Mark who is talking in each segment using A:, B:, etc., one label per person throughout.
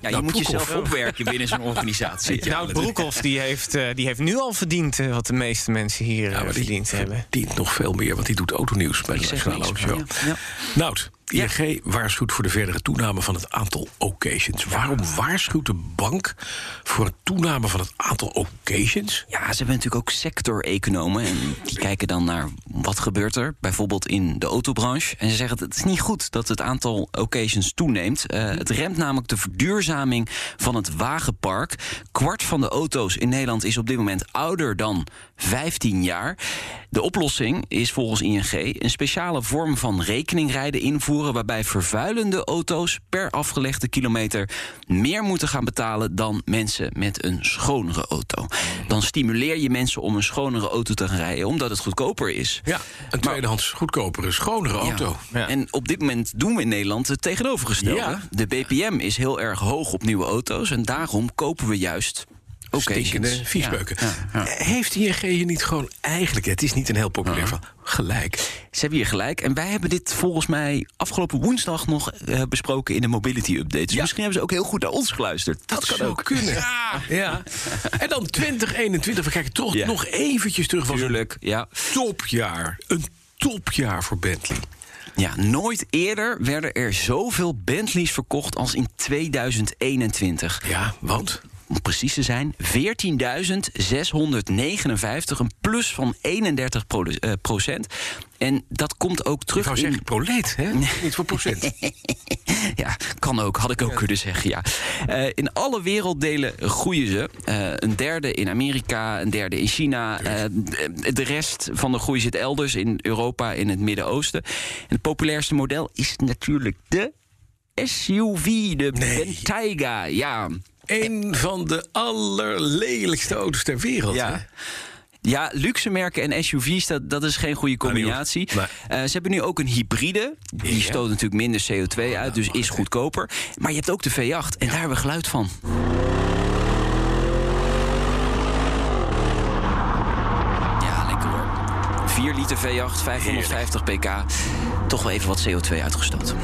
A: Ja, je
B: Nou,
A: moet
B: Broekhoff
A: jezelf
B: wel.
A: opwerken binnen zo'n organisatie. Ja,
C: Nou,
A: dat-
C: Broekhoff die heeft, eh, die heeft nu al verdiend eh, wat de meeste mensen hier
B: Ja,
C: eh,
B: maar die
C: verdiend hebben.
B: verdient nog veel meer, want die doet autonieuws bij de
A: zeg
B: Nationale
A: niks,
B: Autoshow.
A: maar ja,
B: Nout, ING waarschuwt voor de verdere toename van het aantal occasions. Waarom waarschuwt de bank voor het toename van het aantal occasions?
A: Ja, ze hebben natuurlijk ook sector-economen. En die kijken dan naar wat gebeurt er, bijvoorbeeld in de autobranche. En ze zeggen het is niet goed dat het aantal occasions toeneemt. Eh, het remt namelijk de verduurzaming van het wagenpark. Kwart van de auto's in Nederland is op dit moment ouder dan 15 jaar. De oplossing is volgens ING een speciale vorm van rekeningrijden invoeren... waarbij vervuilende auto's per afgelegde kilometer... meer moeten gaan betalen dan mensen met een schonere auto. Dan stimuleer je mensen om een schonere auto te gaan rijden... omdat het goedkoper is.
B: Ja, een tweedehands goedkopere, schonere auto.
A: Ja. En op dit moment doen we in Nederland het tegenovergestelde.
B: Ja.
A: De BPM is heel erg hoog op nieuwe auto's... en daarom kopen we juist... occasions.
B: Stinkende viesbeuken.
A: Ja, ja, ja.
B: Heeft ING je niet gewoon eigenlijk, het is niet een heel populair van, gelijk?
A: Ze hebben hier gelijk. En wij hebben dit volgens mij afgelopen woensdag nog eh, besproken in de mobility update. Dus misschien hebben ze ook heel goed naar ons geluisterd. Dat, kan
B: zou
A: ook.
B: kunnen. Ja. En dan 2021, we kijken toch
A: Ja.
B: nog eventjes terug. Was een
A: Tuurlijk, ja.
B: topjaar. Een topjaar voor Bentley.
A: ja. Nooit eerder werden er zoveel Bentleys verkocht als in 2021.
B: Ja, want?
A: Om precies te zijn, 14.659, een plus van 31 pro- eh, procent. En dat komt ook
B: Ik
A: terug
B: wou
A: in-
B: zeggen, proleet, hè? Niet voor procent.
A: Ja, kan ook. Had ik ook kunnen zeggen, ja. Eh, in alle werelddelen groeien ze. Eh, een derde in Amerika, een derde in China. Eh, de- de rest van de groei zit elders in Europa, in het Midden-Oosten. En het populairste model is natuurlijk de SUV, de Bentayga. Ja.
B: Een van de allerlelijkste auto's ter wereld.
A: Ja.
B: hè? Nou,
A: Ja, luxe merken en SUV's, dat, dat is geen goede combinatie.
B: Nee.
A: Eh, ze hebben nu ook een hybride. Die
B: Ja. Nou,
A: stoot natuurlijk minder CO2 uit, dus is goedkoper. Maar je hebt ook de V8 en daar hebben we geluid van. Ja, lekker hoor. 4 liter V8, 550 pk. Toch wel even wat CO2 uitgestoten.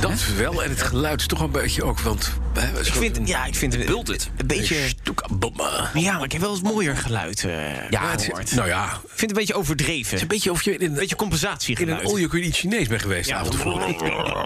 B: Dat wel. En het geluid is toch een beetje ook. Want ik
C: Ik vind, ja, ik vind het
A: Bult het.
C: een beetje... Ja, maar ik heb wel eens mooier geluid eh
A: Ja,
C: gehoord.
A: het
B: Nou ja, het
C: Ik vind het een beetje overdreven.
B: is een
C: Een
B: beetje of je in een,
C: beetje
B: in een
C: compensatiegeluid.
B: all you can eat Chinees bent geweest. de
C: ja,
B: avond ervoor.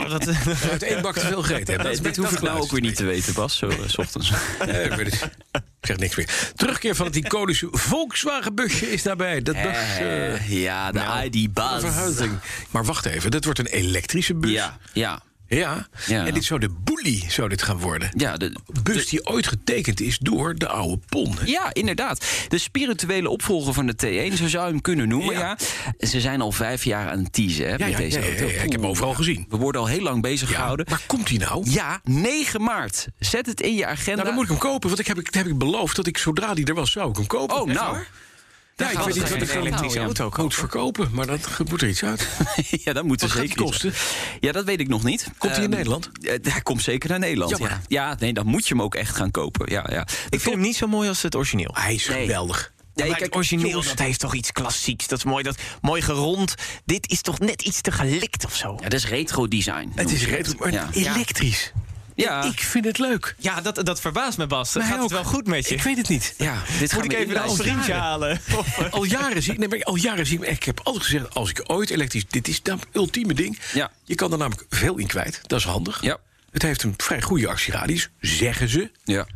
C: dat,
B: Uit één bak te veel gegeten hebben.
A: Dit hoef ik nou ook weer niet te weten, Bas, zo eh, 's ochtends.
B: Nee, ik weet het. Ik zeg niks meer. Terugkeer van het iconische Volkswagen-busje is daarbij. Dat was eh,
A: Eh, ja, de
B: nou, een
A: ID-buzz.
B: verhuizing. Maar wacht even, dat wordt een elektrische bus.
A: Ja, ja.
B: Ja.
A: Ja.
B: En dit zou de boelie zou dit gaan worden.
A: Ja, de,
B: Bus die ooit getekend is door de oude Pon. hè?
A: ja, inderdaad. De spirituele opvolger van de T1, zo zou je hem kunnen noemen, ja.
B: Ja.
A: Ze zijn al vijf jaar aan het teasen hè,
B: Ja,
A: met
B: ja,
A: deze
B: ja, ja,
A: auto.
B: ja, ik heb hem overal gezien.
A: We worden al heel lang bezig
B: Ja,
A: gehouden.
B: maar komt hij nou?
A: Ja, 9 maart. Zet het in je agenda.
B: Nou, dan moet ik hem kopen, want ik heb, ik heb ik beloofd dat ik zodra die er was, zou ik hem kopen.
A: Oh,
B: Echt
A: nou.
B: waar? Ja, ik
C: gaat
B: weet niet
C: het
B: wat ik
C: geen
B: dan
C: elektrische auto
B: moet verkopen, maar dat moet er iets uit.
A: ja, dat moet
B: Wat
A: er
B: gaat
A: zeker
B: die
A: iets-
B: kosten?
A: Ja, dat weet ik nog niet.
B: Komt hij in
A: Ehm,
B: Nederland?
A: eh, Hij komt zeker naar Nederland.
B: Jammer.
A: Ja. ja, nee, dan moet je hem ook echt gaan kopen. Ja, ja.
C: ik vind hem niet zo mooi als het origineel.
B: Hij is
A: Nee.
B: geweldig.
A: Ja,
C: maar
A: kijk,
C: het origineel,
A: jongens,
C: dat heeft toch iets klassieks. Dat is mooi, dat, mooi gerond. Dit is toch net iets te gelikt of zo?
A: Ja, dat is retro design.
B: Het is retro, maar
A: Ja. Ah.
B: elektrisch.
A: Ja.
B: Ik vind het leuk.
C: Ja, dat, dat verbaast me, Bas.
B: Mij
C: Gaat het
B: ook.
C: wel goed met je?
B: Ik weet het niet.
A: Ja, dit
C: Moet ik even een
A: de
C: vriendje halen?
B: Al jaren zie ik, nee, maar al jaren zie ik, ik heb altijd gezegd, als ik ooit elektrisch, dit is het ultieme ding.
A: Ja.
B: Je kan er namelijk veel in kwijt, dat is handig.
A: Ja.
B: Het heeft een vrij goede actieradius, zeggen ze.
A: Ja.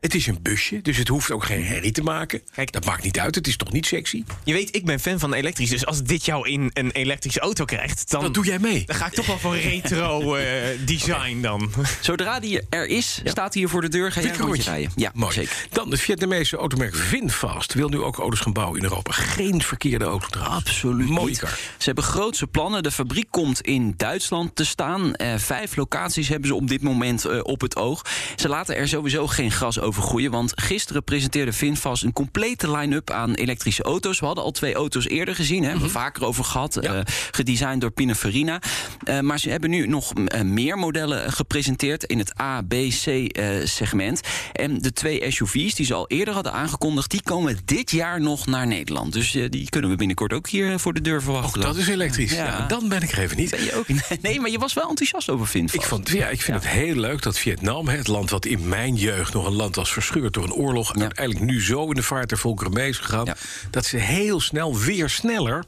B: Het is een busje, dus het hoeft ook geen herrie te maken.
C: Kijk.
B: dat maakt niet uit, het is toch niet sexy?
C: Je weet, ik ben fan van elektrisch. Dus als dit jou in een elektrische auto krijgt, dan,
B: Dat doe jij mee.
C: dan ga ik toch wel voor retro eh, design dan.
A: Zodra die er is, staat hij hier voor de deur. Ga jij een
B: Dikke rondje.
A: rondje rijden. Ja,
B: Mooi.
A: zeker.
B: Dan het Vietnamese automerk Vinfast wil nu ook auto's gaan bouwen in Europa. Geen verkeerde auto trouwens.
A: Absoluut.
B: Mooie
A: niet.
B: kar.
A: Ze hebben grootse plannen. De fabriek komt in Duitsland te staan. Eh, vijf locaties hebben ze op dit moment eh, op het oog. Ze laten er sowieso geen gras over overgroeien. Want gisteren presenteerde VinFast een complete line-up aan elektrische auto's. We hadden al twee auto's eerder gezien, hè, hebben we vaker over gehad. eh, gedesigned door Pininfarina. Eh, maar ze hebben nu nog eh, meer modellen gepresenteerd in het A, B, C eh, segment. En de twee SUV's die ze al eerder hadden aangekondigd, die komen dit jaar nog naar Nederland. Dus eh, die kunnen we binnenkort ook hier eh, voor de deur verwachten.
B: Ook dat is elektrisch.
A: Ja.
B: Ja, dan ben ik er even niet.
A: Ben je ook? Nee, maar je was wel enthousiast over VinFast.
B: Ik, vond, ja, ik vind het heel leuk dat Vietnam, hè, het land wat in mijn jeugd nog een land was verscheurd door een oorlog,
A: Ja.
B: uiteindelijk nu zo in de vaart der volkeren mee is gegaan.
A: Ja.
B: Dat ze heel snel, weer sneller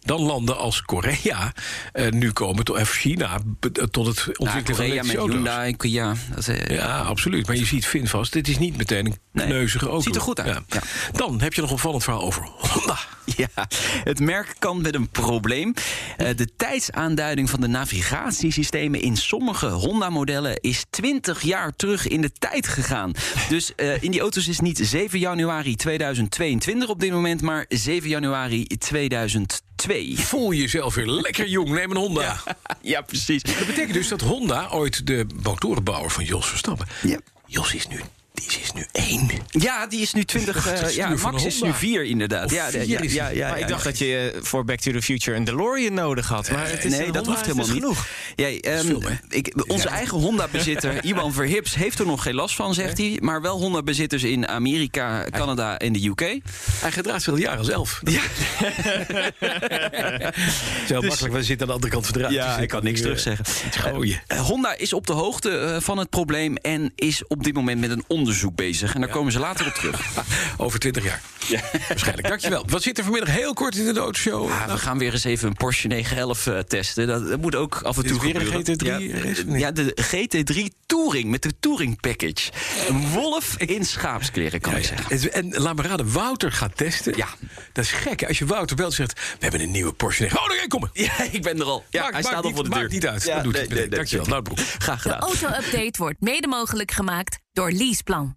B: dan landen als Korea eh, nu komen, tot, of China, be- eh, tot het
A: Ja,
B: ontwikkelen van
A: Nou, Korea met
B: elektrische auto's.
A: Hyundai, ja, dat, eh,
B: Ja, absoluut. Maar je ziet Finvast, dit is niet meteen een
A: Nee,
B: kneuzige auto.
A: ziet er goed uit. Ja.
B: Dan heb je nog een opvallend verhaal over Honda.
A: Ja, het merk kan met een probleem. Eh, De tijdsaanduiding van de navigatiesystemen in sommige Honda-modellen is 20 jaar terug in de tijd gegaan. Dus eh, in die auto's is niet 7 januari 2022 op dit moment, maar 7 januari 2002.
B: Voel jezelf weer lekker jong, neem een Honda.
A: Ja, precies.
B: Dat betekent dus dat Honda, ooit de motorenbouwer van Jos Verstappen...
A: Ja.
B: Jos is nu, die is nu één.
A: Ja, die is nu 20. eh,
B: Het stuur
A: ja,
B: van
A: Max
B: een
A: is nu
B: Honda.
A: 4 inderdaad.
B: Of
A: ja,
B: vier
A: ja,
B: is
A: ja,
B: hij.
A: ja,
C: maar
A: ja,
C: ik dacht
A: ja.
C: dat je eh, voor Back to the Future een DeLorean nodig had. Maar het is
A: Eh, nee,
C: een
A: dat
C: Honda
A: hoeft
C: is
A: helemaal
C: dus
A: niet.
C: genoeg.
A: Jij, ehm,
B: veel, hè?
A: ik, onze eigen Honda-bezitter, Iwan Verhips, heeft er nog geen last van, zegt hij. Maar wel Honda-bezitters in Amerika, Canada en de UK.
B: Hij gedraagt zich al jaren zelf. Ja. Zo makkelijk, we zitten aan de andere kant van de ruimte.
A: Dus Ja,
B: Dus
A: ik kan
B: nu,
A: niks
B: eh,
A: terugzeggen.
B: iets gooien.
A: Eh, Honda is op de hoogte eh, van het probleem en is op dit moment met een onderzoek bezig. En daar komen ze later op terug.
B: Over 20 jaar. Waarschijnlijk. Dankjewel. Wat zit er vanmiddag heel kort in de doodshow?
A: Ja, Ah, we gaan weer eens even een Porsche 911 eh, testen. Dat, dat moet ook af en
B: Dit is
A: toe
B: weer een
A: gebeuren.
B: GT3
A: Ja,
B: race, of
A: eh,
B: niet?
A: ja, de GT3 Touring met de Touring Package. Een wolf in schaapskleren, kan ik zeggen.
B: Het- En laat me raden, Wouter gaat testen.
A: Ja.
B: Dat is gek. hè? Als je Wouter belt zegt, we hebben een nieuwe Porsche. Oh, daar kom ik.
A: Ja, ik ben er al. Ja,
B: Maakt-
A: hij staat
B: maakt
A: al
B: niet-
A: voor de deur.
B: Maakt niet uit.
A: Ja,
B: dat doet
A: nee,
B: hij meteen.
A: nee, nee.
B: Dankjewel, Nou, Loutbroek.
D: De
A: Graag gedaan.
D: auto-update wordt mede mogelijk gemaakt door Leaseplan.